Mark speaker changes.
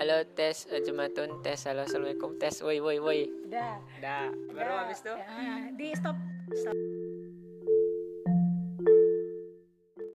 Speaker 1: Halo tes eh, Jumatun tes halo assalamualaikum tes woi woi woi
Speaker 2: Dah.
Speaker 1: dah baru
Speaker 2: dah.
Speaker 1: habis tuh
Speaker 2: Ah, di stop. Stop.